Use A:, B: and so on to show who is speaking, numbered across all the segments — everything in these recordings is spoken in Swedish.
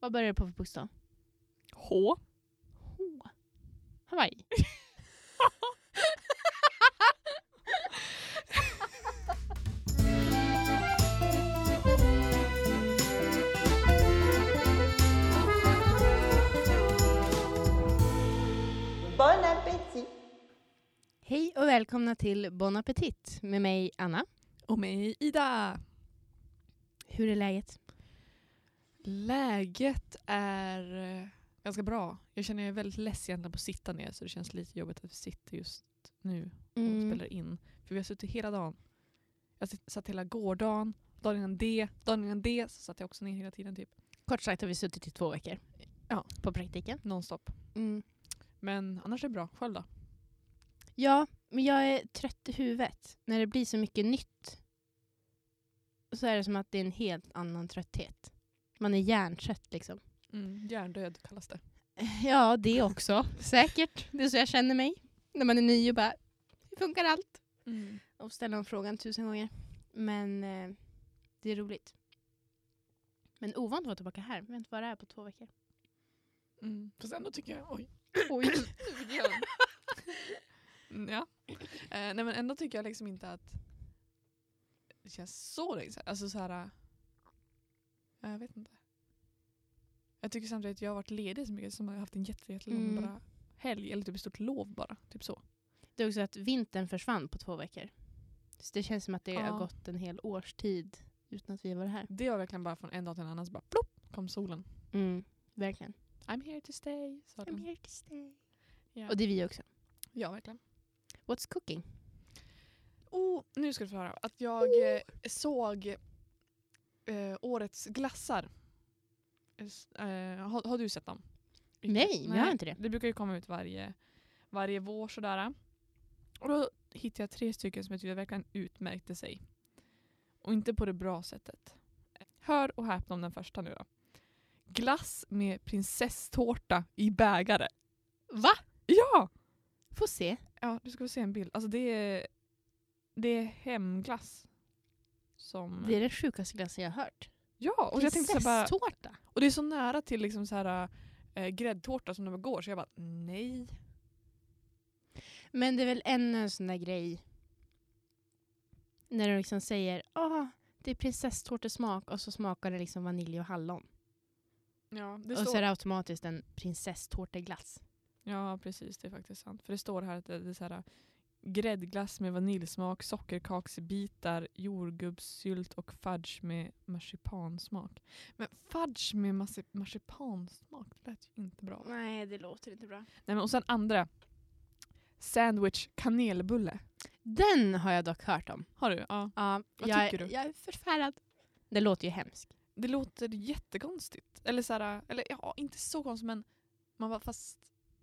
A: Vad börjar det på för bokstav?
B: H.
A: H. Hawaii.
C: Bon appétit
A: Hej och välkomna till Bon Appetit med mig Anna.
B: Och mig Ida.
A: Hur är läget?
B: Läget är eh, ganska bra. Jag känner mig väldigt less egentligen på att sitta ner så det känns lite jobbigt att vi sitter just nu och
A: Mm.
B: spelar in. För vi har suttit hela dagen. Jag sit- satt hela gårdagen, dagen innan det, dagen innan det så satt jag också ner hela tiden typ.
A: Kort sagt har vi suttit i två veckor.
B: Ja.
A: På praktiken.
B: Nonstop.
A: Mm.
B: Men annars är det bra. Själv då?
A: Ja, men jag är trött i huvudet. När det blir så mycket nytt så är det som att det är en helt annan trötthet. Man är hjärntrött liksom.
B: Mm. Hjärndöd kallas det.
A: Ja, det också. Säkert. Det är så jag känner mig. När man är ny och bara, hur funkar allt?
B: Mm.
A: Och ställer om frågan tusen gånger. Men eh, det är roligt. Men ovant att vara tillbaka här. Vi har inte varit här på två veckor.
B: Mm. Fast ändå tycker jag, oj.
A: Oj.
B: Mm, ja. Eh, nej men ändå tycker jag liksom inte att det känns så länge sedan. Alltså så här, eh, jag vet inte. Jag tycker samtidigt att jag har varit ledig så mycket som jag har haft en jätte, jättelång
A: Mm.
B: bara helg eller typ ett stort lov bara. Typ så.
A: Det är också att vintern försvann på två veckor. Så det känns som att det
B: Ja.
A: har gått en hel årstid utan att vi har varit här.
B: Det var verkligen bara från en dag till en annan så bara plopp kom solen.
A: Mm, verkligen. Mm.
B: I'm here to stay. Sa de.
A: here to stay.
B: Ja.
A: Och det är vi också.
B: Ja verkligen.
A: What's cooking?
B: Oh, nu ska du få höra att jag
A: Oh.
B: eh, såg eh, årets glassar. Eh, s- Eh, har, har du sett dem?
A: Nej, jag har inte det.
B: Det brukar ju komma ut varje, varje vår sådär. Och då hittade jag tre stycken som jag tyckte verkligen utmärkte sig. Och inte på det bra sättet. Hör och häpna om den första nu då. Glass med prinsesstårta i bägare.
A: Va?
B: Ja!
A: Får se.
B: Ja, du ska få se en bild. Alltså det är, det är hemglass. Som...
A: Det är det sjukaste glassen jag har hört.
B: Ja, och jag tänkte så här bara,
A: Prinsesstårta.
B: och det är så nära till liksom så här, eh, gräddtårta som de går så jag bara nej.
A: Men det är väl ännu en sån där grej. När de liksom säger ah det är prinsesstårtesmak och så smakar det liksom vanilj och hallon.
B: Ja, det
A: Och
B: står,
A: så är det automatiskt en prinsesstårteglass.
B: ja, precis det är faktiskt sant. För det står här att det det är så här, gräddglass med vaniljsmak, sockerkaksbitar, jordgubbssylt och fudge med marsipansmak. Men fudge med marsi- marsipansmak, det lät ju inte bra.
A: Nej, det låter inte bra.
B: Nej, men, och sen andra. Sandwich kanelbulle.
A: Den har jag dock hört om.
B: Har du? Ja.
A: Ja,
B: Vad
A: jag,
B: tycker du?
A: Jag är förfärad. Det låter ju hemskt.
B: Det låter jättekonstigt. Eller så här, eller ja, inte så konstigt men man var fast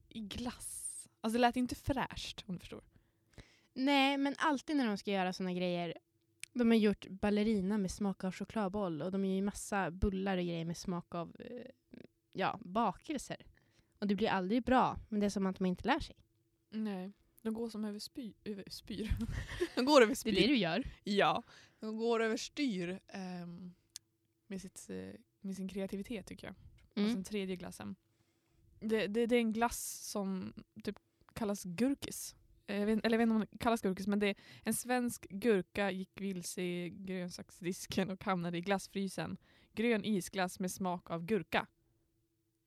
B: i glass. Alltså det lät inte fräscht om du förstår.
A: Nej, men alltid när de ska göra såna grejer. De har gjort ballerina med smak av chokladboll och de gör ju massa bullar och grejer med smak av eh, ja, bakelser. Och det blir aldrig bra, men det är som att man inte lär sig.
B: Nej. De går som över spy, över spyr. De går över
A: Det
B: spyr.
A: är det du gör.
B: Ja. De går över styr ehm, med, sitt, eh, med sin kreativitet tycker jag. Och sen
A: Mm.
B: Alltså, tredje glassen. Det, det, det är en glass som typ kallas gurkis. Eh, Jag vet, eller jag vet inte om den kallas gurkis men det är en svensk gurka gick vilse i grönsaksdisken och hamnade i glassfrysen. Grön isglass med smak av gurka.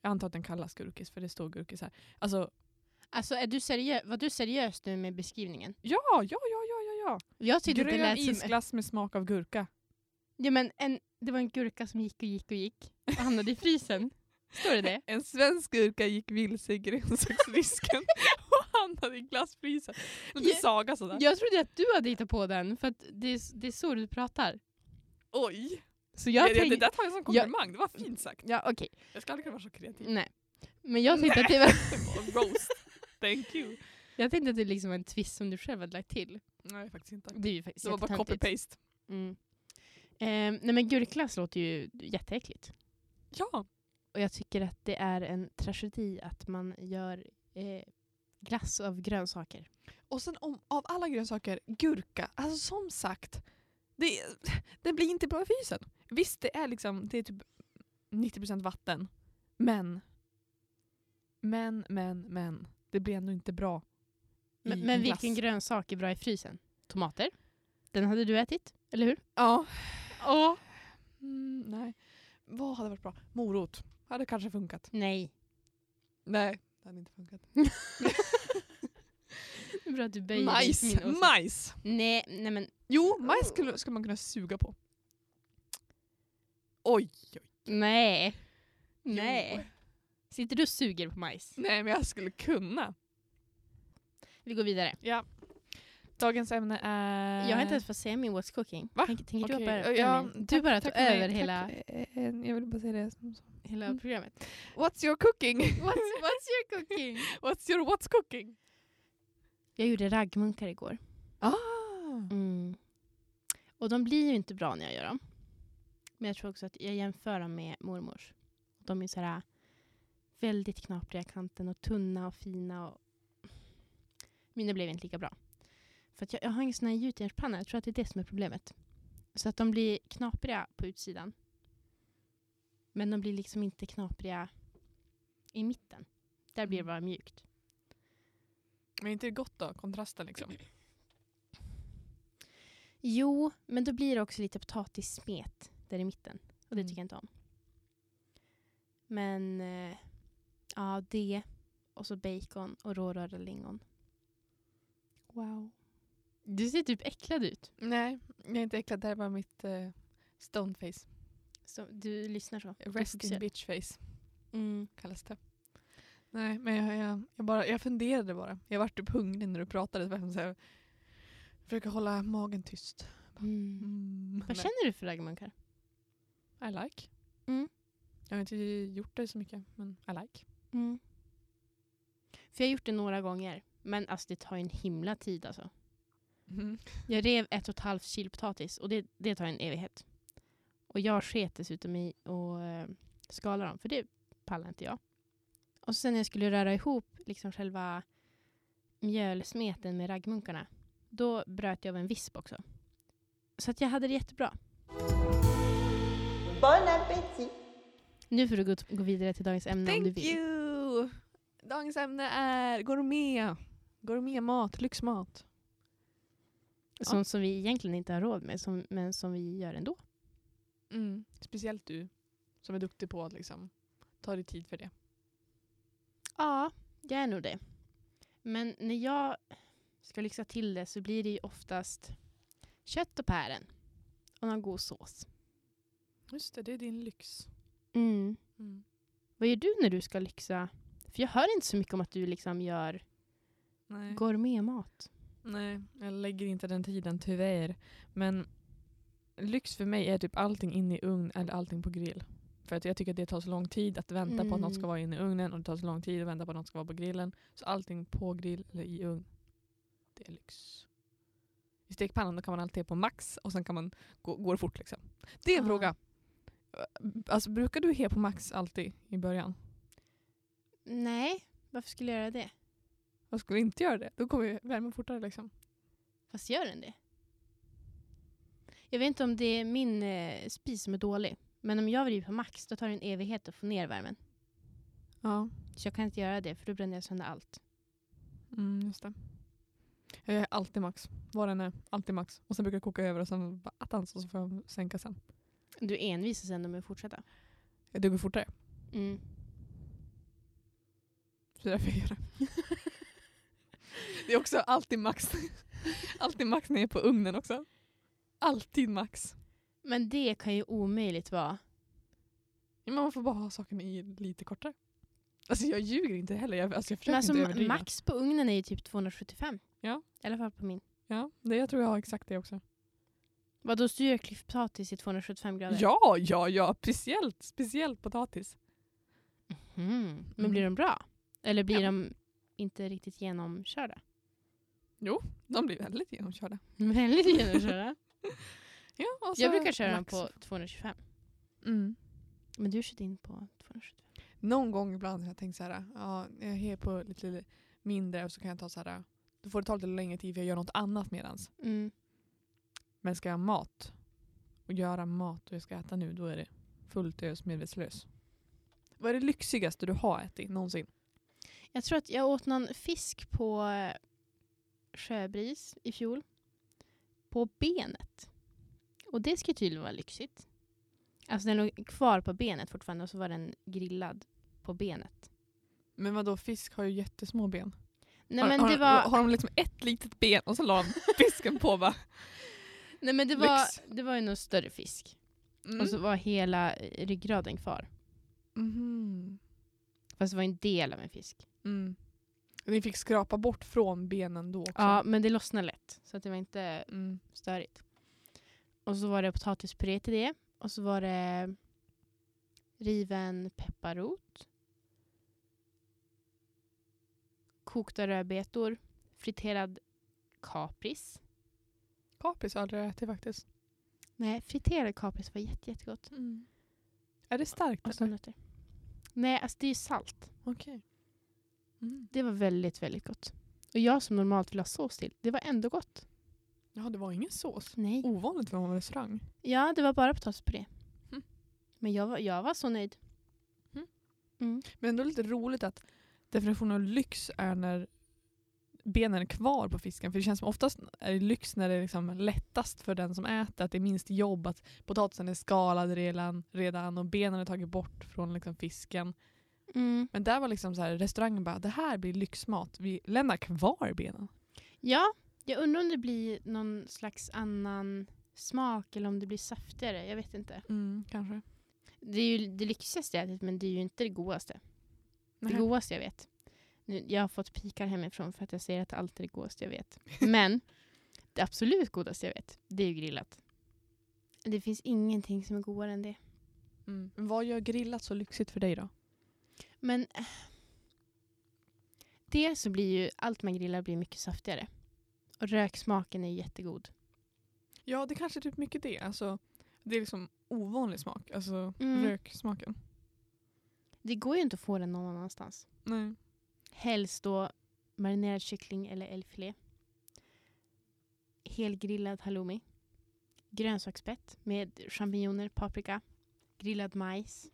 B: Jag antar att den kallas gurkis för det står gurkis här. Alltså
A: Alltså, är du seriö- var du seriös nu med beskrivningen?
B: ja, ja, ja, ja, ja, ja.
A: Jag tyckte att det
B: Grön
A: lät som...
B: isglass med smak av gurka.
A: Ja, men en, det var en gurka som gick och gick och gick och hamnade i frysen. Står det det?
B: En svensk gurka gick vilse i grönsaksdisken och hamnade i glassfrysen. Lite
A: Ja.
B: saga sådär.
A: Jag trodde att du hade hittat på den, för att det, är- det är så du pratar.
B: Oj!
A: Så jag
B: det, det,
A: tänkte...
B: det där tar jag som
A: Jag-
B: komplimang, det var fint sagt.
A: Ja, okej.
B: Jag skulle aldrig kunna vara så kreativ.
A: Nej. Men jag tänkte att det var...
B: Mm. Roast, thank you.
A: Jag tänkte att det liksom var en twist som du själv hade lagt till.
B: Nej faktiskt inte.
A: Det är ju faktiskt
B: Det var bara
A: jättetöntigt.
B: copy-paste.
A: Mm. Eh, nej men gurkglass låter ju jätteäckligt.
B: Ja.
A: Och jag tycker att det är en tragedi att man gör eh, glass av grönsaker.
B: Och sen om, av alla grönsaker, gurka. Alltså som sagt, det, det blir inte bra i fysen. Visst det är liksom, det är typ 90% vatten. Men, men, men, men. Det blir ändå inte bra. i
A: Men,
B: en
A: men vilken
B: glass.
A: grönsak är bra i frysen? Tomater. Den hade du ätit, eller hur?
B: Ja.
A: Åh.
B: Mm, nej. Vad hade varit bra? Morot. Hade kanske funkat.
A: Nej.
B: Nej, det hade inte funkat.
A: Det är bra att du böjer dig
B: Majs!
A: för min åsikt. Oh.
B: Majs!
A: Nej, nej men,
B: Jo, majs skulle, skulle man kunna suga på. Oj!
A: nej.
B: Jo.
A: Nej. Sitter du och suger på majs?
B: Nej, men jag skulle kunna.
A: Vi går vidare.
B: Dagens ämne är...
A: Jag har inte ens fått säga min What's Cooking.
B: Eh. Va?
A: Tänker, tänker du
B: Okej,
A: hoppa över?
B: ja,
A: Nej, men du
B: tack-
A: bara tog
B: tack för mig,
A: över
B: tack.
A: hela,
B: Eh, Jag ville bara säga det. som så.
A: hela
B: Mm.
A: programmet.
B: What's your cooking?
A: What's, Alltså, what's your cooking?
B: What's your what's cooking?
A: Jag gjorde raggmunkar igår.
B: Ah.
A: Mm. Och de blir ju inte bra när jag gör dem. Men jag tror också att jag jämför dem med mormors. De är så här väldigt knapriga i kanten och tunna och fina. Och... Mina blev inte lika bra. För att jag, jag har ingen sån här gjutjärnspanna. Jag tror att det är det som är problemet. Så att de blir knapriga på utsidan. Men de blir liksom inte knapriga i mitten. Där blir det bara mjukt.
B: Men inte det gott då? Kontrasten liksom.
A: Jo, men då blir det också lite potatissmet där i mitten. Och det
B: Mm.
A: tycker jag inte om. Men eh, ja, det och så bacon och rårörda lingon. Wow. Du ser typ äcklad ut.
B: Nej, jag är inte äcklad. Det här var mitt eh, stoneface.
A: Så, du lyssnar så. Du
B: Rest in
A: fokuserar.
B: bitch face
A: Mm.
B: kallas det. Nej, men jag, jag, jag, bara, jag funderade bara. Jag vart typ hungrig när du pratade. Så jag försöker hålla magen tyst.
A: Mm.
B: Mm.
A: Vad känner du för raggmunkar?
B: I like.
A: Mm.
B: Jag har inte gjort det så mycket, men I like.
A: Mm. För jag har gjort det några gånger. Men alltså det tar ju en himla tid alltså.
B: Mm.
A: Jag rev ett och ett halvt kilo potatis och det, det tar en evighet. Och jag sket dessutom i att eh, skala dem, för det pallar inte jag. Och sen när jag skulle röra ihop liksom själva mjölsmeten med raggmunkarna, då bröt jag av en visp också. Så att jag hade det jättebra.
C: Bon appétit
A: Nu får du gå, gå vidare till dagens ämne om du
B: Thank
A: vill.
B: you! Dagens ämne är gourmet. Gourmetmat, lyxmat.
A: Sånt som vi egentligen inte har råd med, som, men som vi gör ändå.
B: Mm. Speciellt du som är duktig på att liksom, ta dig tid för det.
A: Ja, jag är nog det. Men när jag ska lyxa till det så blir det ju oftast kött och päron. Och någon god sås.
B: Just det, det är din lyx.
A: Mm.
B: Mm.
A: Vad gör du när du ska lyxa? För jag hör inte så mycket om att du liksom gör
B: Nej.
A: gourmetmat.
B: Nej, jag lägger inte den tiden tyvärr. Men lyx för mig är typ allting in i ugn eller allting på grill. För att jag tycker att det tar så lång tid att vänta på att något ska
A: Mm.
B: vara inne i ugnen och det tar så lång tid att vänta på att något ska vara på grillen. Så allting på grill eller i ugn, det är lyx. I stekpannan då kan man alltid ha på max och sen kan man gå, går det fort liksom. Det är en
A: Ah.
B: fråga. Alltså, brukar du he på max alltid i början?
A: Nej, varför skulle jag göra det?
B: Vad skulle inte göra det? Då kommer ju värmen fortare liksom.
A: Fast gör den det? Jag vet inte om det är min eh, spis som är dålig. Men om jag vrider på max då tar det en evighet att få ner värmen.
B: Ja.
A: Så jag kan inte göra det för då bränner jag sönder allt.
B: Mm, just det. Jag är alltid max. Vad den är. Alltid max. Och sen brukar jag koka över och sen bara attans och så får jag sänka sen.
A: Du envisas ändå med att fortsätta.
B: Jag duger fortare.
A: Mm.
B: Så det är därför jag gör det. det är också alltid max. alltid max när jag är på ugnen också. Alltid max.
A: Men det kan ju omöjligt vara.
B: Ja, Men man får bara ha saken i lite kortare. Alltså jag ljuger inte heller. Jag, alltså jag försöker
A: Men alltså,
B: inte
A: ma-
B: överdriva.
A: max på ugnen är ju typ 275.
B: Ja.
A: I alla fall på min.
B: Ja, det, jag tror jag har exakt det också.
A: Vadå, så du gör klyftpotatis i 275 grader?
B: Ja, ja, ja. Speciellt, speciellt potatis.
A: Mhm. Men
B: Mm.
A: blir de bra? Eller blir
B: Ja.
A: de inte riktigt genomkörda?
B: De blir väldigt genomkörda.
A: Väldigt genomkörda.
B: Ja, och så
A: Jag brukar köra dem
B: Alltså, max.
A: på 225.
B: Mm.
A: Men du kört in på 275.
B: Någon gång ibland har jag tänkt så här, ja, jag är på lite, lite mindre och så kan jag ta så här, då får det ta lite längre tid för jag gör något annat medans.
A: Mm.
B: Men ska jag ha mat och göra mat och jag ska äta nu, då är det fullt ös medvetslös. Vad är det lyxigaste du har ätit någonsin?
A: Jag tror att jag åt någon fisk på eh, sjöbris i fjol. På benet. Och det ska tydligen vara lyxigt. Alltså den låg kvar på benet fortfarande och så var den grillad på benet.
B: Men vadå, fisk har ju jättesmå ben.
A: Nej
B: har,
A: men
B: har,
A: det var...
B: har de liksom ett litet ben och så la de fisken på va?
A: Nej men det var,
B: Lyx.
A: det var ju någon större fisk.
B: Mm.
A: Och så var hela eh, ryggraden kvar.
B: Mhm.
A: Fast det var en del av en fisk.
B: Mm. Ni fick skrapa bort från benen då också?
A: Ja, men det lossnade lätt. Så att det var inte
B: Mm.
A: störigt. Och så var det potatispuré till det. Och så var det riven pepparrot. Kokta rödbetor. Friterad kapris.
B: Kapris har jag aldrig ätit faktiskt.
A: Nej, friterad kapris var jätte, jättegott.
B: Mm.
A: Alltså.
B: Är det starkt?
A: Och så
B: eller?
A: nötter. Nej, alltså det är ju salt.
B: Okej. Mm.
A: Det var väldigt, väldigt gott. Och jag som normalt vill ha sås till, det var ändå gott. Oh.
B: Ja, det var ingen sås.
A: Nej.
B: Ovanligt för en restaurang.
A: Ja, det var bara potatispuré.
B: Mm.
A: Men jag var, jag var så nöjd. Hm. Mm.
B: Men ändå lite roligt att definitionen av lyx är när benen är kvar på fisken. För det känns som oftast är det lyx när det är liksom lättast för den som äter, att det är minst jobb, att potatisen är skalad redan, redan och benen är tagit bort från liksom fisken.
A: Mm.
B: Men där var liksom så här, restaurangen bara, det här blir lyxmat, vi lämnar kvar benen.
A: Ja, jag undrar om det blir någon slags annan smak eller om det blir saftigare. Jag vet inte.
B: kanske.
A: Det är ju det lyxigaste jag ätit men det är ju inte det godaste. Det
B: Nähä.
A: godaste jag vet. Nu, jag har fått pikar hemifrån för att jag säger att det alltid är det godaste jag vet. Men det absolut godaste jag vet, det är ju grillat. Det finns ingenting som är godare än det.
B: Mm. Men Vad gör grillat så lyxigt för dig då?
A: Men eh, dels så blir ju allt man grillar blir mycket saftigare. Och röksmaken är ju jättegod.
B: Ja, det kanske är typ mycket det. Alltså, det är liksom ovanlig smak, alltså
A: Mm.
B: röksmaken.
A: Det går ju inte att få den någon annanstans.
B: Nej.
A: Helst då marinerad kyckling eller älgfilé. Helgrillad halloumi. Grönsakspett med champinjoner, paprika. Grillad majs.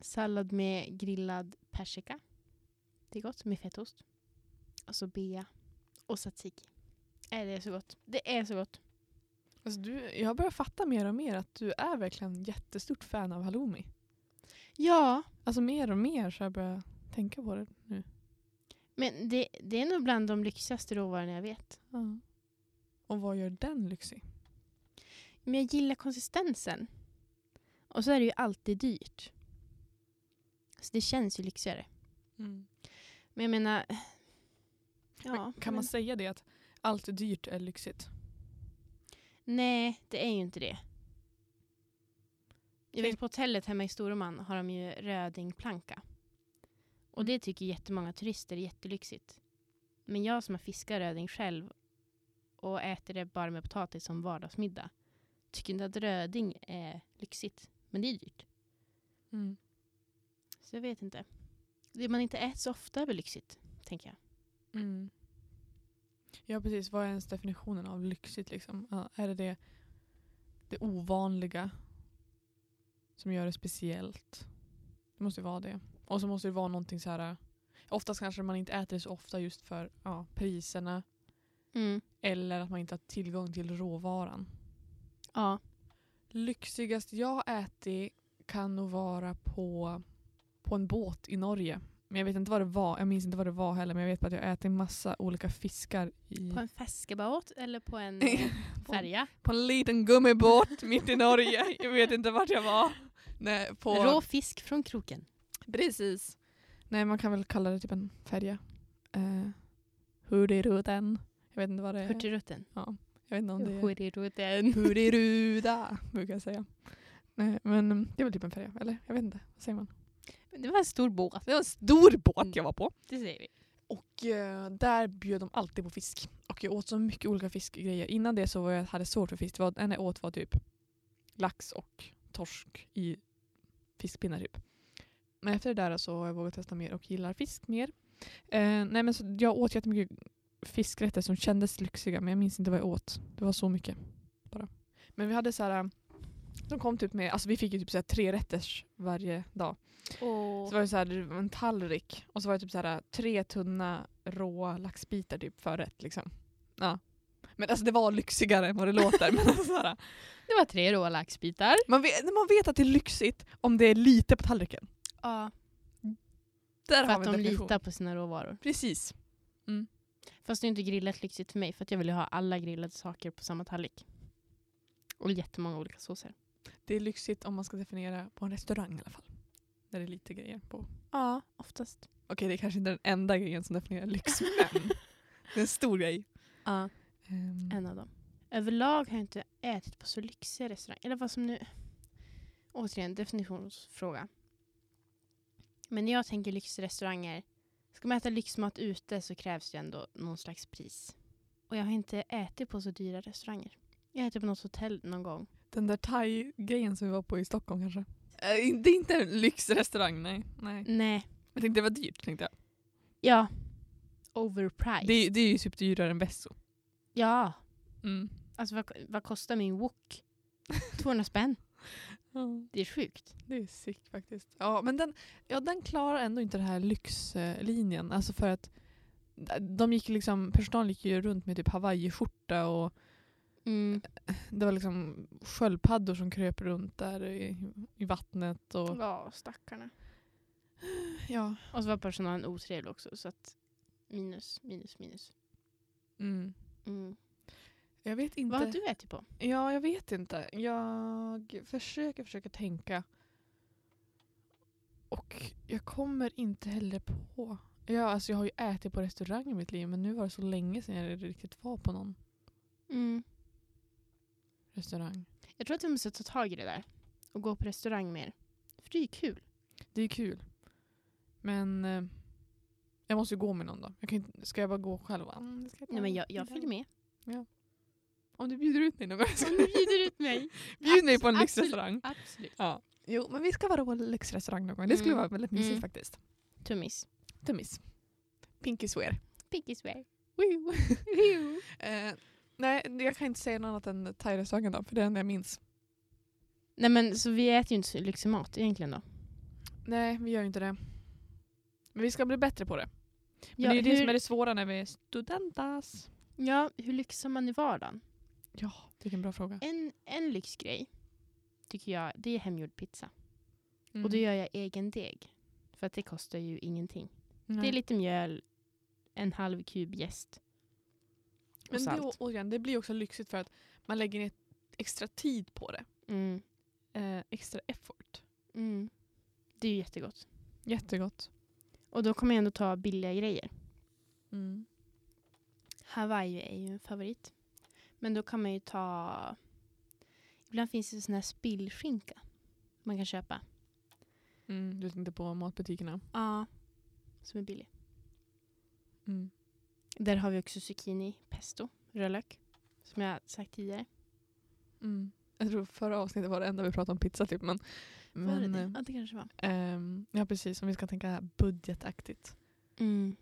A: Sallad med grillad persika. Det är gott med fetaost. Och så bea. Och tzatziki. Äh, det är så gott. Det är så gott.
B: Alltså du, jag börjar fatta mer och mer att du är verkligen jättestort fan av halloumi.
A: Ja,
B: Alltså mer och mer så jag börjar tänka på det nu.
A: men det, det är nog bland de lyxigaste råvarorna jag vet.
B: Ja. Och vad gör den lyxig?
A: Men jag gillar konsistensen. Och så är det ju alltid dyrt. Så det känns ju lyxigare. Men jag menar... Ja,
B: Mm. Men kan
A: men,
B: man säga det att allt dyrt är lyxigt?
A: nej, det är ju inte det. Jag
B: Tänk-
A: vet på hotellet hemma i Storuman har de ju rödingplanka.
B: Mm.
A: Och det tycker jättemånga turister är jättelyxigt. Men jag som har fiskat röding själv och äter det bara med potatis som vardagsmiddag tycker inte att röding är lyxigt. Men det är dyrt.
B: Mm.
A: Så jag vet inte. Det man inte äter så ofta är väl lyxigt, tänker jag.
B: Mm. Ja precis, vad är ens definitionen av lyxigt liksom? Ja, är det, det det ovanliga som gör det speciellt? Det måste ju vara det. Och så måste det vara någonting så här. äh, oftast kanske man inte äter det så ofta just för ja, priserna
A: Mm.
B: eller att man inte har tillgång till råvaran.
A: Ja.
B: Lyxigast jag har ätit kan nog vara på, på en båt i Norge. Men jag vet inte vad det var, jag minns inte vad det var heller men jag vet bara att jag har ätit massa olika fiskar i...
A: På en fiskebåt eller på en eh, färja.
B: Mm. på en liten gummibåt mitt i Norge. Jag vet inte vart jag var. Nej, på...
A: Rå fisk från kroken.
B: Precis. Nej, man kan väl kalla det typ en färja. Uh, Hurtigruten. Jag vet inte vad det är.
A: Hurtigruten.
B: Jag vet inte om det är...
A: Hurtigruten.
B: Hurtigruda, brukar jag säga. Nej, men mm, det är väl typ en färja, eller? Jag vet inte. Vad säger man?
A: Det var en stor båt, Mm.
B: Det var en stor båt jag var på.
A: det säger vi.
B: Och eh, där bjöd de alltid på fisk. Och jag åt så mycket olika fiskgrejer. Innan det så var jag, hade jag svårt för fisk. Det var, en jag åt var typ lax och torsk i fiskpinnar typ. Men efter det där så har jag vågat testa mer och gillar fisk mer. Eh, nej men så jag åt jättemycket fiskrätter som kändes lyxiga men jag minns inte vad jag åt. Det var så mycket bara. Men vi hade så här eh, De kom typ med, alltså vi fick ju typ så här tre rätters varje dag. Så
A: Och
B: var det så här, det var en tallrik och så var det typ så här, tre tunna råa laxbitar typ förrätt liksom. Ja. Men alltså det var lyxigare än vad det låter. Men alltså så här,
A: det var tre råa laxbitar.
B: man, vet, man vet att det är lyxigt om det är lite på tallriken.
A: Ja,
B: Där
A: för
B: har
A: att
B: vi en
A: de
B: definition.
A: litar på sina råvaror.
B: Precis.
A: Fast det är inte grillat lyxigt för mig för att jag vill ju ha alla grillade saker på samma tallrik. Och jättemånga olika såser.
B: Det är lyxigt om man ska definiera på en restaurang i alla fall. Där det är lite grejer på.
A: Ja, oftast.
B: Okej, det är kanske inte den enda grejen som definierar lyx, men det är en stor grej.
A: Ja.
B: Ehm,
A: En av dem. Överlag har jag inte ätit på så lyxiga restauranger. Eller vad som nu... Återigen, definitionsfråga. Men när jag tänker lyxrestauranger, ska man äta lyxmat ute så krävs det ändå någon slags pris. Och jag har inte ätit på så dyra restauranger. Jag äter på något hotell någon gång.
B: Den där thai-grejen som vi var på i Stockholm kanske? Eh, det är inte en lyxrestaurang, nej. nej.
A: Nej.
B: Jag tänkte det var dyrt, tänkte jag.
A: Ja. Overpriced.
B: Det, är- det är ju typ dyrare än Besso.
A: Ja.
B: Mm.
A: Alltså vad, vad kostar min wok? 200 spänn. Det är sjukt.
B: Det är sick faktiskt. Ja, men den, ja, den klarar ändå inte den här lyxlinjen. Alltså för att de gick ju liksom, personalen gick ju runt med typ hawaiiskjorta och
A: Mm.
B: det var liksom sköldpaddor som kröp runt där i, i vattnet. Och,
A: Ja, stackarna.
B: ja.
A: Och så var personalen otrevlig också. Så att minus, minus, minus.
B: mm.
A: Mm.
B: Jag vet inte.
A: Vad har du ätit på?
B: Ja, jag vet inte. Jag försöker försöka tänka. Och jag kommer inte heller på. Ja, alltså jag har ju ätit på restaurang i mitt liv men nu var det så länge sedan jag riktigt var på någon Mm. restaurang.
A: Jag tror att vi måste ta tag i det där. Och gå på restaurang mer. För det är ju kul.
B: Det är kul. Men eh, jag måste ju gå med någon då. Jag kan inte, ska jag bara gå själv? Mm, det ska ta
A: Nej, men jag,
B: en
A: jag
B: bild.
A: följer med.
B: Om du bjuder ut mig någon gång.
A: Om du bjuder ut mig.
B: Bjud mig på en
A: Absolut.
B: lyxrestaurang.
A: Absolut.
B: Ja. Jo, men vi ska vara på en lyxrestaurang någon gång. Det skulle
A: Mm.
B: vara väldigt mysigt
A: Mm.
B: faktiskt.
A: Tummis.
B: Tummis. Pinky swear.
A: Piggies wear.
B: Woo. Eh, nej, jag kan inte säga något annat än thai-restaurangen då, för det är den jag minns.
A: Nej men så vi äter ju inte så lyxig mat egentligen då.
B: Nej, vi gör ju inte det. Men vi ska bli bättre på det. Men
A: Ja,
B: det är ju det
A: hur-
B: som är det svåra när vi är studentas.
A: Ja, hur lyxar man i vardagen?
B: Ja, vilken bra fråga.
A: En, en lyxgrej tycker jag, det är hemgjord pizza.
B: Mm.
A: Och då gör jag egen deg. För att det kostar ju ingenting. Det är lite mjöl, en halv kub jäst och
B: Men det,
A: salt.
B: å- återigen, det blir också lyxigt för att man lägger ner extra tid på det.
A: Mm.
B: Eh, extra effort.
A: Mm. Det är ju jättegott.
B: Jättegott.
A: Och då kommer jag ändå ta billiga grejer.
B: Mm.
A: Hawaii är ju en favorit. Men då kan man ju ta... Ibland finns det sån här spillskinka man kan köpa.
B: Mm, du tänkte på matbutikerna.
A: Ja. Som är billig.
B: Mm.
A: Där har vi också zucchini, pesto, rödlök. Som jag sagt tidigare.
B: Mm. Jag tror förra avsnittet var det enda vi pratade om pizza typ. Men,
A: var det
B: men,
A: det?
B: eh,
A: Ja, det kanske var.
B: Ehm, ja precis, om vi ska tänka budgetaktigt.
A: Mm.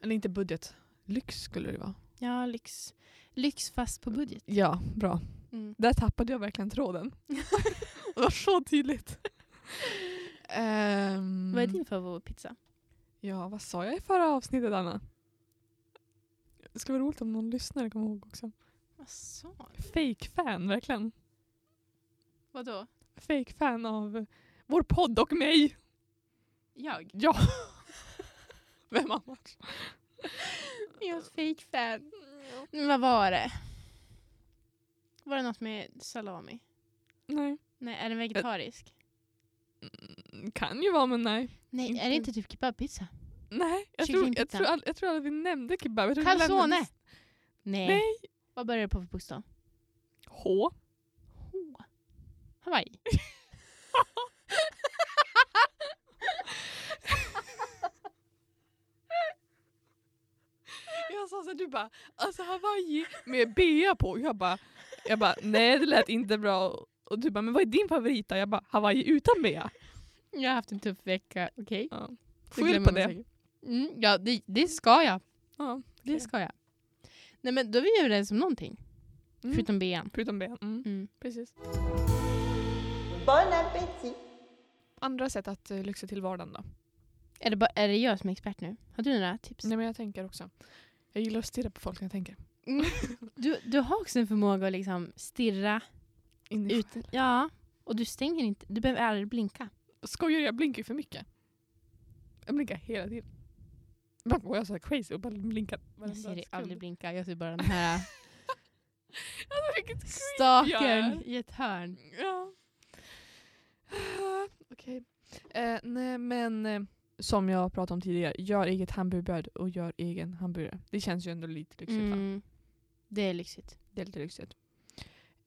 B: Eller inte budget, lyx skulle det vara.
A: Ja, lyx. Lyx fast på budget.
B: Ja, bra.
A: Mm.
B: Där tappade jag verkligen tråden. det var så tydligt. Ehm,
A: Vad är din favoritpizza?
B: Ja, vad sa jag i förra avsnittet Anna? Det skulle vara roligt om någon lyssnare kommer ihåg också.
A: Vad sa du?
B: Fake-fan, verkligen.
A: Vadå?
B: Fake-fan av vår podd och mig.
A: Jag?
B: Ja. Vem annars?
A: Jag är ett fake fan. Men vad var det? Var det något med salami?
B: Nej. Mm,
A: Nej, är den vegetarisk?
B: Kan ju vara, men nej.
A: Nej,
B: inte-
A: är det inte typ kebabpizza?
B: Nej, jag tror,
A: Kycklingpizza.
B: jag, tror aldrig, jag tror aldrig vi nämnde kebab. Jag tror vi lämnade-
A: Calzone? Nej.
B: Nej.
A: Vad börjar det på för bokstav?
B: H.
A: H. Hawaii.
B: Jag sa så här, du bara, alltså Hawaii med bea på. Jag bara, jag bara, nej det lät inte bra. Och du bara, men vad är din favorit då? Jag bara, Hawaii utan bea.
A: Jag har haft en tuff vecka, okej?
B: Ja.
A: Det glömmer
B: Skyll på
A: man
B: det.
A: säkert. Mm, ja, det, det ska jag.
B: Ja.
A: Det ska jag. Nej men då är vi överens om någonting.
B: Mm.
A: Förutom ben.
B: Förutom ben. Mm.
A: Mm.
B: Precis.
C: Bon appétit!
B: Andra sätt att eh, lyxa till vardagen då?
A: Är, det bara, är det jag som är expert nu? Har du några tips?
B: Nej men jag tänker också. Jag gillar att stirra på folk när jag tänker.
A: Du, du har också en förmåga att liksom stirra
B: Inifrån.
A: ut. Ja. Och du stänger inte. Du behöver aldrig blinka.
B: Skojar du? jag blinkar ju för mycket. Jag blinkar hela tiden. Ibland går jag så här crazy och bara blinkar varenda
A: Jag ser dig
B: sekund.
A: aldrig blinka. Jag ser bara den här äh,
B: Alltså vilket
A: staken i ett hörn.
B: Ja. Okej. Eh, nej men eh, som jag pratade om tidigare, gör eget hamburgerbröd och gör egen hamburgare. Det känns ju ändå lite lyxigt va?
A: Mm. Det är lyxigt.
B: Det är lite lyxigt.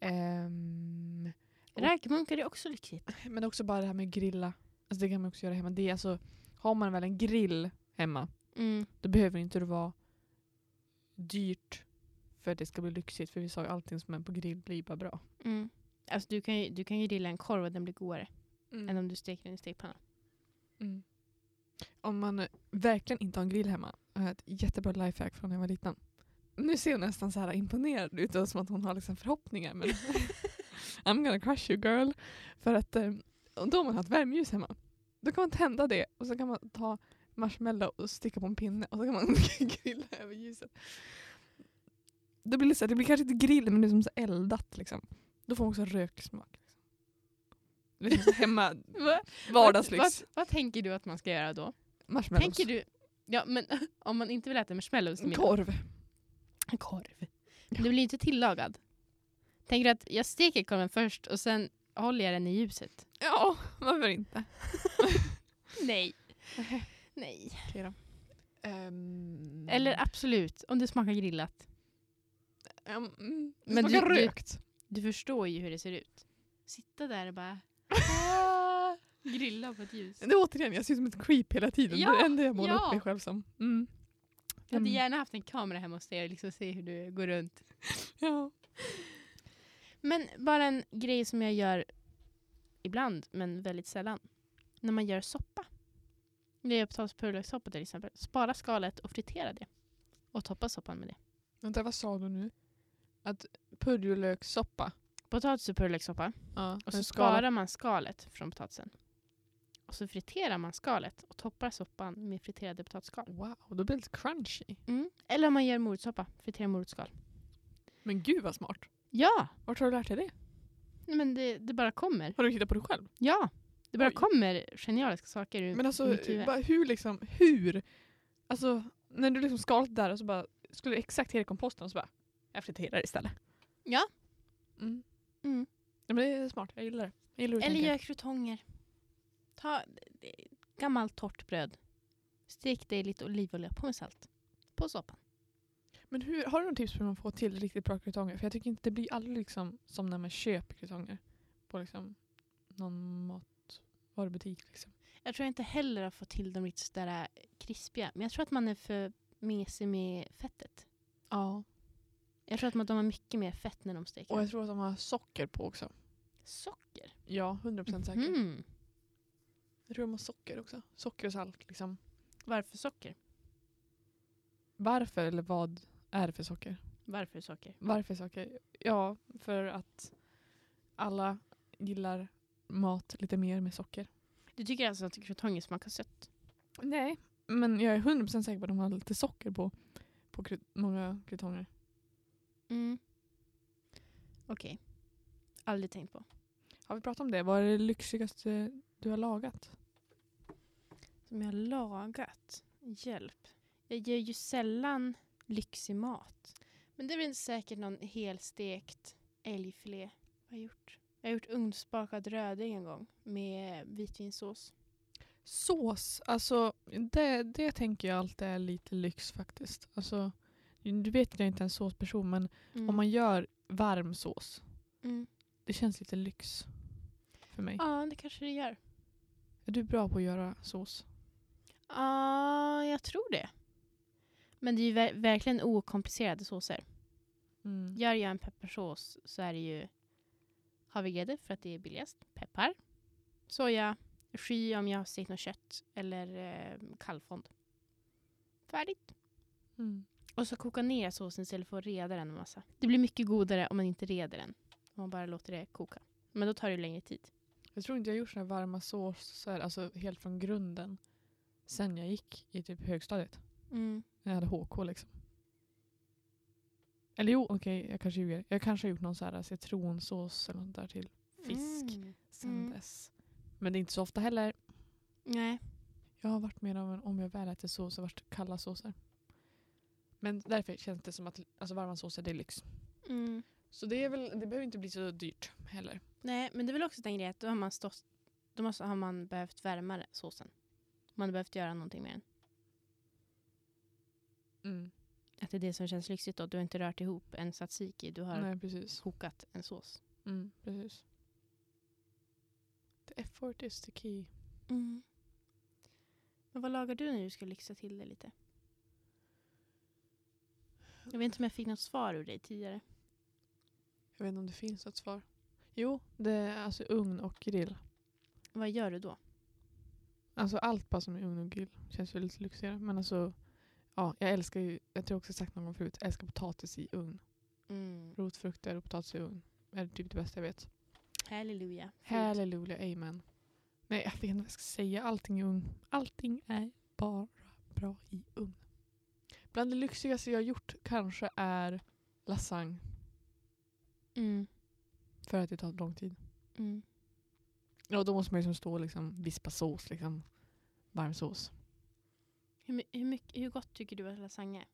B: Ehm, Och-
A: Räkmunkar är också lyxigt.
B: men också bara det här med grilla. Alltså det kan man också göra hemma. Det är alltså, har man väl en grill hemma,
A: Mm.
B: då behöver inte det vara dyrt för att det ska bli lyxigt. För vi sa ju allting som är på grill blir bara bra.
A: Mm. Alltså, du, kan ju, du kan ju grilla en korv och den blir godare än om du steker den i stekpanna.
B: Mm. Om man eh, verkligen inte har en grill hemma, jag har ett jättebra lifehack från när jag var liten. Nu ser hon nästan så här imponerad ut och som att hon har liksom förhoppningar. Men I'm gonna crush you girl. För att eh, och då har man haft värmeljus hemma. Då kan man tända det och så kan man ta marshmallow och sticka på en pinne och så kan man grilla över ljuset. Det blir, lite så här, det blir kanske inte grill men det är som så här eldat liksom. Då får man också rökig smak. Liksom. Liksom så hemma, vardagslyx.
A: Vad, vad, vad tänker du att man ska göra då?
B: Marshmallows.
A: Tänker du... Ja, men om man inte vill äta marshmallows till middag.
B: Korv.
A: En korv. Men det blir inte tillagad. Tänker du att jag steker korven först och sen håller jag den i ljuset?
B: Ja, varför inte?
A: Nej. Nej. Eller
B: Eller...
A: absolut, om det smakar grillat.
B: Um, det
A: Men
B: smakar
A: du- du-
B: rökt.
A: Du förstår ju hur det ser ut. Sitta där och bara
B: Ah.
A: grilla på ett ljus.
B: det är återigen, jag ser ut som ett creep hela tiden.
A: Ja,
B: det är det enda jag målar
A: ja.
B: upp mig själv som. Mm.
A: Jag hade
B: Mm.
A: gärna haft en kamera hemma hos dig och liksom se hur du går runt.
B: Ja.
A: Men bara en grej som jag gör ibland, men väldigt sällan. När man gör soppa. När jag gör potatis och purjolökssoppa till exempel. Spara skalet och fritera det. Och toppa soppan med det.
B: Vänta, vad sa du nu? Att purjolökssoppa.
A: Potatis och purjolökssoppa.
B: Ja, Alltså,
A: Och
B: en
A: så
B: skala-
A: sparar man skalet från potatisen. Och så friterar man skalet och toppar soppan med friterade potatisskal.
B: Wow, då blir det lite crunchy.
A: Eller om man gör morotssoppa, friterar morotskal.
B: Men gud vad smart.
A: Ja!
B: Vart har du lärt dig det?
A: Nej, Men det, det bara kommer.
B: Har du hittat på det själv?
A: Ja! Det bara
B: Oj.
A: kommer genialiska saker ur
B: Men alltså,
A: mitt huvud.
B: bara hur liksom, hur? Alltså, när du liksom skalat det där och så bara, skulle du exakt hela komposten och så bara, jag friterar istället.
A: Ja.
B: Mm.
A: Mm.
B: Ja, men det är smart, jag gillar det. Jag gillar hur du
A: Eller
B: tänker.
A: gör krutonger. Ta eh, gammalt torrt bröd. Stek det i lite olivolja, på med salt. På soppan.
B: Men hur, har du någon tips på hur man får till riktigt bra krutonger? För jag tycker inte det blir aldrig liksom som när man köper krutonger på liksom någon matvarubutik. Liksom.
A: Jag tror jag inte heller har fått till dem riktigt sådär äh, krispiga. Men jag tror att man är för mesig med fettet.
B: Ja.
A: Jag tror att man, de har mycket mer fett när de steker.
B: Och jag tror att de har socker på också.
A: Socker?
B: Ja, 100% säker.
A: Mm.
B: Jag tror de har socker också. Socker och salt liksom.
A: Varför socker?
B: Varför eller vad är det för socker?
A: Varför socker?
B: Varför socker? Ja, för att alla gillar mat lite mer med socker.
A: Du tycker alltså att krutonger smakar sött?
B: Nej. Men jag är 100% säker på att de har lite socker på, på krut- många krutonger.
A: Mm. Okej. Aldrig tänkt på.
B: Har vi pratat om det? Vad är det lyxigaste du har lagat?
A: Som jag har lagat. Hjälp. Jag gör ju sällan lyxig mat. Men det är väl säkert någon helstekt älgfilé. Vad har jag gjort? Jag har gjort ugnsbakad röding en gång med vitvinsås.
B: Sås. Alltså, det, det tänker jag alltid är lite lyx faktiskt. Alltså, du vet att jag inte är en såsperson men
A: Mm.
B: om man gör varm sås,
A: mm.
B: det känns lite lyx för mig.
A: Ja, det kanske det gör.
B: Är du bra på att göra sås?
A: Ja, jag tror det. Men det är ju ver- verkligen okomplicerade såser.
B: Mm.
A: Gör jag en pepparsås så är det ju havregrädde för att det är billigast. Peppar. Soja. Sky om jag har stekt något kött. Eller eh, kallfond. Färdigt.
B: Mm.
A: Och så koka ner såsen istället för att reda den en massa. Det blir mycket godare om man inte reder den. Om man bara låter det koka. Men då tar det ju längre tid.
B: Jag tror inte jag gjort såna här varma såser, alltså helt från grunden, sen jag gick i typ högstadiet.
A: Mm.
B: När jag hade HK liksom. Eller jo, okej, jag kanske ljuger. Jag kanske har gjort någon så här citronsås eller något där till fisk
A: Mm.
B: sen
A: Mm.
B: dess. Men det är inte så ofta heller.
A: Nej.
B: Jag har varit mer av en, om jag väl äter sås, har varit kalla såser. Men därför känns det som att alltså, varma såser, det är lyx.
A: Mm.
B: Så det, är väl, det behöver inte bli så dyrt heller.
A: Nej, men det är väl också den grejen att då har man, stått, då måste, har man behövt värma det- såsen. Man har behövt göra någonting med den.
B: Mm,
A: Att det är det som känns lyxigt då. Du har inte rört ihop en tzatziki. Du har
B: Nej, precis.
A: kokat en sås.
B: Mm, precis. The effort is the key.
A: Men vad lagar du när du ska lyxa till det lite? Jag vet inte om jag fick något svar ur dig tidigare.
B: Jag vet inte om det finns något svar. Jo, det är alltså ugn och grill.
A: Vad gör du då?
B: Alltså allt bara som är ugn och grill känns ju lite lyxigare. Men alltså, ja, jag älskar ju, jag tror också jag sagt någon gång förut, jag älskar potatis i ugn. Mm. Rotfrukter och potatis i ugn är typ det bästa jag vet.
A: Halleluja.
B: Halleluja, amen. Nej, jag vet inte vad jag ska säga. Allting i ugn. Allting är bara bra i ugn. Bland det lyxigaste jag har gjort kanske är lasagne.
A: Mm.
B: För att det tar lång tid.
A: Mm.
B: Ja, då måste man ju liksom stå och liksom, vispa sås. Liksom. Varm sås.
A: Hur, my- hur, mycket, hur gott tycker du att lasagne är?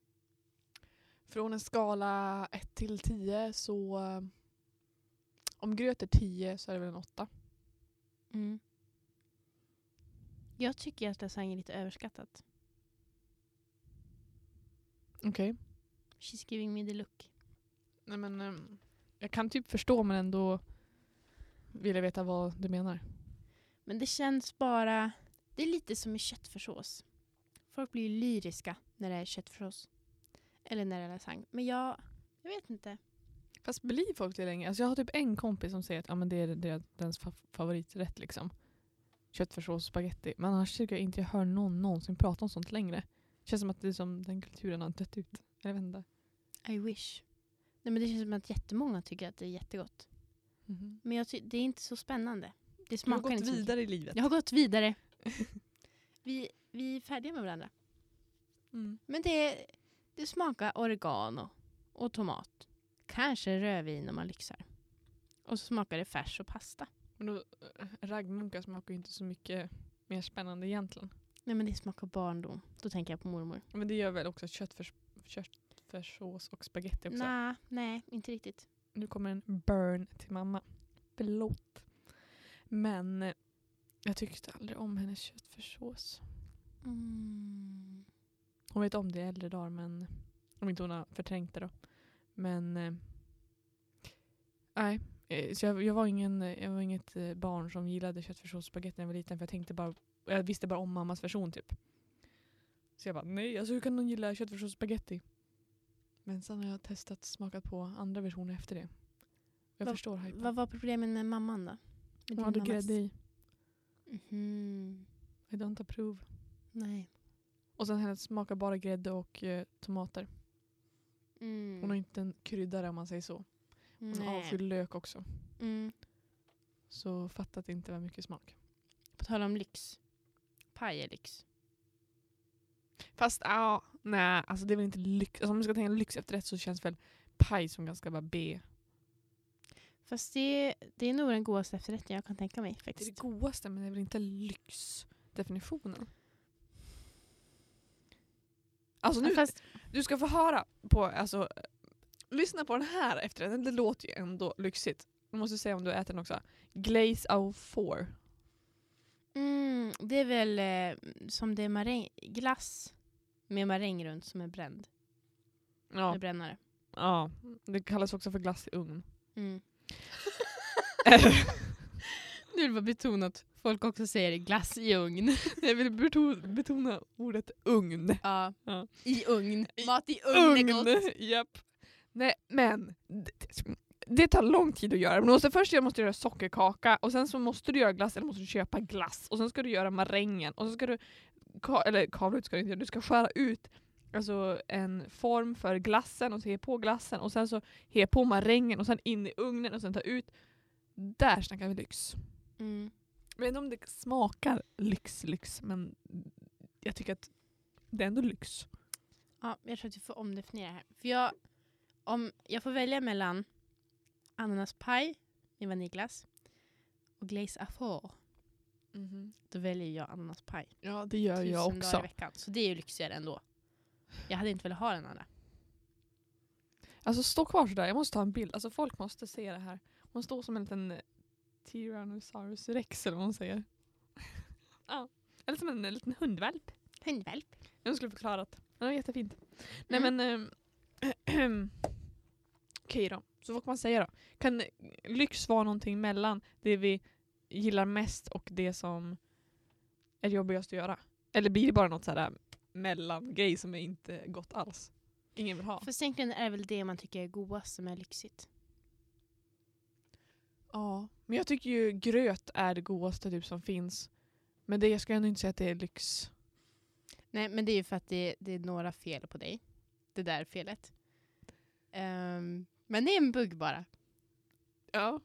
B: Från en skala 1 till 10 så... eh, Om gröt är 10 så är det väl en 8.
A: Mm. Jag tycker att lasagne är lite överskattat.
B: Okej.
A: She's giving me the look.
B: Nej, men, ehm, jag kan typ förstå men ändå vill jag veta vad du menar.
A: Men det känns bara... Det är lite som i köttfärssås. Folk blir ju lyriska när det är köttfärssås. Eller när det är lasagne. Men jag... Jag vet inte.
B: Fast blir folk det länge? Alltså, jag har typ en kompis som säger att ja, men det är deras- dens fa- favoriträtt. Liksom. Köttfärssås och spagetti. Men annars tycker jag inte jag hör någon någonsin prata om sånt längre. Känns som att det är som den kulturen har dött ut. Eller vända.
A: I wish. Nej, men det känns som att jättemånga tycker att det är jättegott.
B: mm
A: Men jag ty- det är inte så spännande. Det smakar inte så mycket.
B: i livet.
A: Jag har gått vidare. vi, vi är färdiga med varandra.
B: Mm.
A: Men det, det smakar oregano och tomat. Kanske rödvin om man lyxar. Och så smakar det färs och pasta.
B: Men då, eh, raggmunkar smakar ju inte så mycket mer spännande egentligen.
A: Nej men det smakar barndom. Då tänker jag på mormor.
B: Men det gör väl också köttfärs, köttfärssås och spagetti också.
A: Nej, nej, inte riktigt.
B: Nu kommer en burn till mamma. Förlåt. Men eh, jag tyckte aldrig om hennes köttfärssås.
A: Mm.
B: Hon vet om det i äldre dagar men om inte hon har förträngt det då. Men eh, nej. Eh, Så jag, jag, var ingen, eh, jag var inget eh, barn som gillade köttfärssås och spagetti när jag var liten för jag tänkte bara, jag visste bara om mammas version typ. Så jag bara nej, alltså hur kan någon gilla köttfärssås och spagetti? Men sen har jag testat smakat på andra versioner efter det. Jag
A: Vad-
B: förstår hypen.
A: Vad var problemen med mamman då? Med
B: Hon hade
A: din mammas-
B: grädde i.
A: Mhm.
B: I don't approve.
A: Nej.
B: Och sen hennes smakar bara grädde och eh, tomater.
A: Mm.
B: Hon har inte en kryddare om man säger så. Hon har
A: Nej.
B: avfylld lök också.
A: Mm.
B: Så fattat inte vad mycket smak.
A: På tal om lyx. Paj är lyx.
B: Fast ja, nej alltså det är väl inte lyx. Alltså, om man ska tänka lyx efter rätt så känns väl paj som ganska bara B.
A: Fast det, det är nog den godaste efterrätten jag kan tänka mig
B: Det är det
A: faktiskt.
B: godaste men det är väl inte lyxdefinitionen. Alltså nu,
A: Ja, Fast,
B: du ska få höra på, alltså eh, lyssna på den här efterrätten. Det låter ju ändå lyxigt. Du måste säga om du äter den också. Glaze au four.
A: mm, det är väl eh, som det är maräng, glass med maräng runt som är bränd.
B: Ja,
A: Med brännare.
B: ja, det kallas också för glass i ugn.
A: Mm. nu vill jag betona att folk också säger glass i ugn.
B: Jag vill beto- betona ordet ugn.
A: Ja.
B: Ja.
A: I ugn. Mat i ugn är gott.
B: Ugn! Japp. Nej, men det, det tar lång tid att göra. Men du måste, först göra- måste du göra sockerkaka och sen så måste du göra glass eller måste du köpa glass och sen ska du göra marängen och så ska du ka- eller kavla ut ska du inte göra, du ska skära ut alltså en form för glassen och så he på glassen och sen så he på marängen och sen in i ugnen och sen ta ut. Där snackar vi lyx.
A: Mm.
B: Jag vet inte om det smakar lyx lyx men jag tycker att det är ändå lyx.
A: Ja, jag tror att vi får omdefiniera här. För jag, om jag får välja mellan ananaspaj med vaniljglass och glaze à four,
B: Mhm.
A: då väljer jag ananaspaj.
B: Ja det gör
A: Tusen
B: jag
A: dagar i
B: också.
A: veckan. Så det är ju lyxigare ändå. Jag hade inte velat ha den andra.
B: Alltså stå kvar sådär, jag måste ta en bild. Alltså folk måste se det här. Hon står som en liten eh, Tyrannosaurus rex eller vad hon säger. ja. Eller som en, eh, liten hundvalp.
A: Hundvalp.
B: Jag skulle förklarat. Det var jättefint. Nej
A: Mm.
B: men... Äh, Okej då, så vad kan man säga då? Kan eh, lyx vara någonting mellan det vi gillar mest och det som är jobbigast att göra? Eller blir det bara något sådär mellangrej som är inte gott alls? Ingen vill ha?
A: Fast egentligen är det väl det man tycker är godast som är lyxigt.
B: Ja, men jag tycker ju gröt är det godaste typ som finns. Men det, jag ska ändå inte säga att det är lyx.
A: Nej, men det är ju för att det, det är några fel på dig. Det där felet. Ehm, men det är en bugg bara.
B: Ja.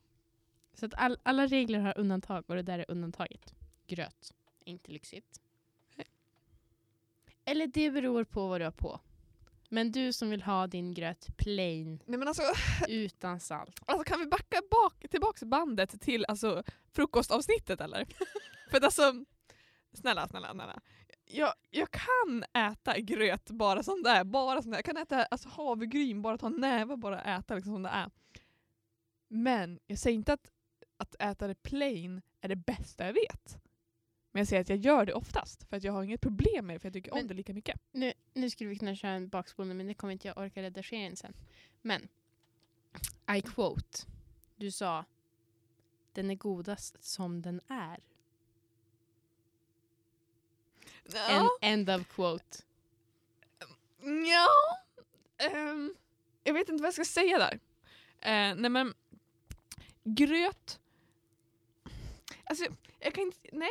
A: Så att all, alla regler har undantag och det där är undantaget. Gröt. Inte lyxigt. Eller det beror på vad du har på. Men du som vill ha din gröt plain,
B: Nej men alltså,
A: utan salt.
B: alltså kan vi backa bak, tillbaka bandet till alltså, frukostavsnittet eller? För att alltså, snälla, snälla, snälla. Jag, jag kan äta gröt bara som det är. Bara som det är. Jag kan äta alltså, havregryn, bara ta en näve bara äta liksom som det är. Men jag säger inte att, att äta det plain är det bästa jag vet. Men jag säger att jag gör det oftast för att jag har inget problem med det för jag tycker om
A: Men-
B: det lika mycket.
A: Nu, nu skulle vi kunna köra en bakspolning men det kommer inte jag orka redigera in sen. Men, I quote. Du sa, den är godast som den är. En end of quote.
B: Ja. Ehm, jag vet inte vad jag ska säga där. Eh, nej men, gröt. Alltså, jag kan inte, nej.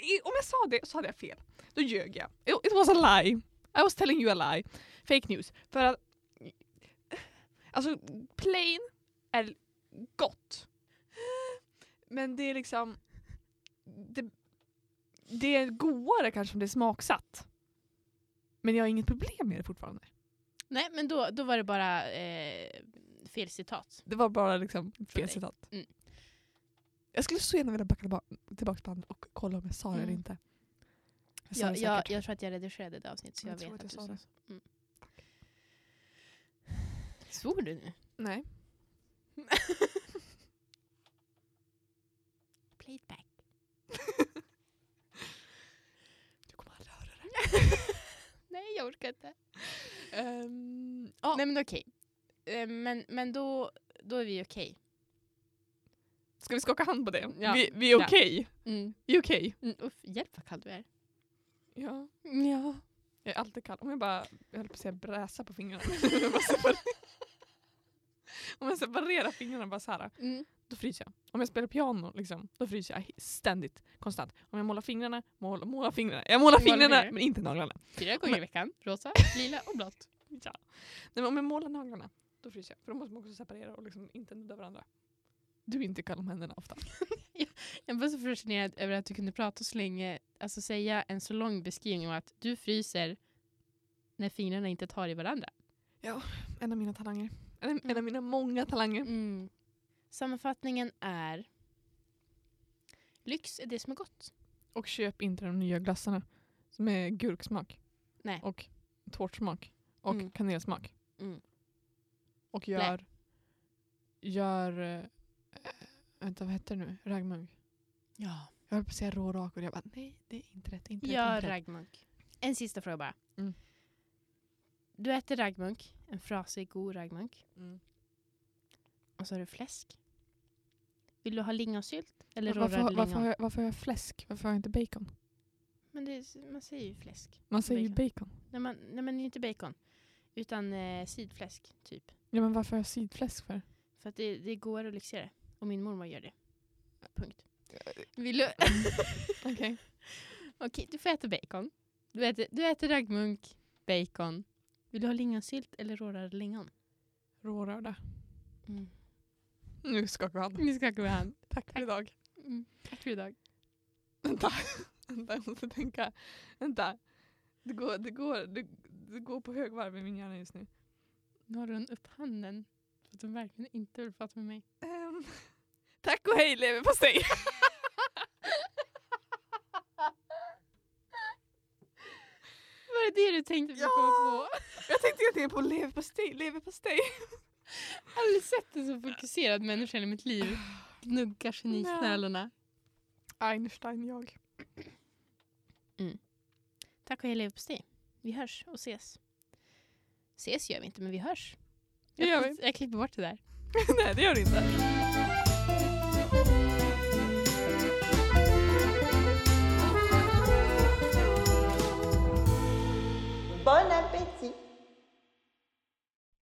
B: I- Om jag sa det så hade jag fel. Då ljög jag. It it was a lie. I was telling you a lie. Fake news. För att, alltså plain är gott. Men det är liksom, det, det är godare kanske om det är smaksatt. Men jag har inget problem med det fortfarande.
A: Nej, men då, då var det bara eh, fel citat.
B: Det var bara liksom
A: Från
B: fel
A: dig.
B: citat.
A: Mm.
B: Jag skulle så gärna vilja backa tillba- tillbaka bandet och kolla om jag sa det eller
A: Mm.
B: inte. Jag sa
A: Jag,
B: det
A: jag,
B: säkert.
A: jag tror att jag redigerade det avsnittet så jag,
B: Jag tror
A: vet
B: att
A: att,
B: jag
A: du
B: sa
A: sa
B: det.
A: så. Mm. Svor du nu?
B: Nej.
A: Play it back.
B: Du kommer aldrig höra det.
A: Nej, jag orkar inte.
B: Ehm, ja.
A: Nej, men okej. Eh, Men, men då, då är vi okej.
B: Ska vi skaka hand på det?
A: Ja.
B: Vi, vi är
A: Ja.
B: okej. Vi är okej.
A: Mm, uff, hjälp vad kall du är.
B: Ja.
A: Mm, Ja.
B: Jag är alltid kall. Om jag bara, jag höll på att säga bräsa på fingrarna. Om jag bara separerar- Om jag separerar fingrarna bara så här,
A: Mm.
B: då fryser jag. Om jag spelar piano, liksom, då fryser jag ständigt, konstant. Om jag målar fingrarna, mål, målar fingrarna. Jag målar
A: Målar
B: fingrarna,
A: fingrar.
B: men inte naglarna.
A: Fyra gånger i veckan. Rosa, lila och blått.
B: Ja. Nej, men om jag målar naglarna, då fryser jag. För då måste man också separera och liksom inte nudda varandra. Du är inte kall om händerna ofta.
A: Jag var så fascinerad över att du kunde prata så länge, alltså säga en så lång beskrivning om att du fryser när fingrarna inte tar i varandra.
B: En av mina talanger. Mm. En, en av mina många talanger.
A: Mm. Sammanfattningen är Lyx är det som är gott.
B: Och köp inte de nya glassarna. Som är gurksmak.
A: Nej.
B: Och tårtsmak. Och
A: Mm.
B: kanelsmak.
A: Mm.
B: Och gör... Gör... eh, vänta, vad heter det nu? Raggmunk.
A: Ja.
B: Jag höll på att säga rårak och jag bara nej, det är inte rätt. Inte rätt,
A: Ja,
B: inte rätt.
A: raggmunk. En sista fråga bara.
B: Mm.
A: Du äter raggmunk, en frasig god raggmunk.
B: Mm.
A: Och så har du fläsk. Vill du ha lingonsylt eller
B: Varför,
A: rårörda
B: har- varför,
A: lingon?
B: har jag, varför har jag fläsk? Varför har jag inte bacon?
A: Men det, är- man säger ju fläsk.
B: Man säger ju
A: Bacon.
B: bacon.
A: Nej, man, nej men inte bacon. Utan eh, sidfläsk, typ.
B: Ja, men varför har jag sidfläsk för?
A: För att det, det går och lyxigare. Och min mormor gör det. Punkt. Vill du...
B: Okej.
A: Okej, du får äta bacon. Du äter, du äter raggmunk bacon. Vill du ha lingonsylt eller rårörda lingon?
B: Rårörda.
A: Mm.
B: Nu skakar vi hand.
A: Nu skakar vi hand.
B: Tack för idag.
A: Mm. Tack för idag.
B: Vänta, vänta jag måste tänka. Vänta. Det går, det går, det, det går på högvarv i min hjärna just nu.
A: Nu har hon upp handen för att hon verkligen inte vill prata med mig.
B: Ehm, tack och hej leverpastej!
A: Var det det du tänkte på?
B: Ja!
A: Ja!
B: Jag tänkte egentligen på leverpastej, leverpastej.
A: Jag har aldrig sett en så fokuserad människa i mitt liv. Gnuggar geniknölarna.
B: Einstein jag.
A: Tack och hej leverpastej. Vi hörs och ses. Ses gör vi inte, men vi hörs.
B: Det gör vi.
A: Jag klipper bort det där.
B: Nej det gör du inte.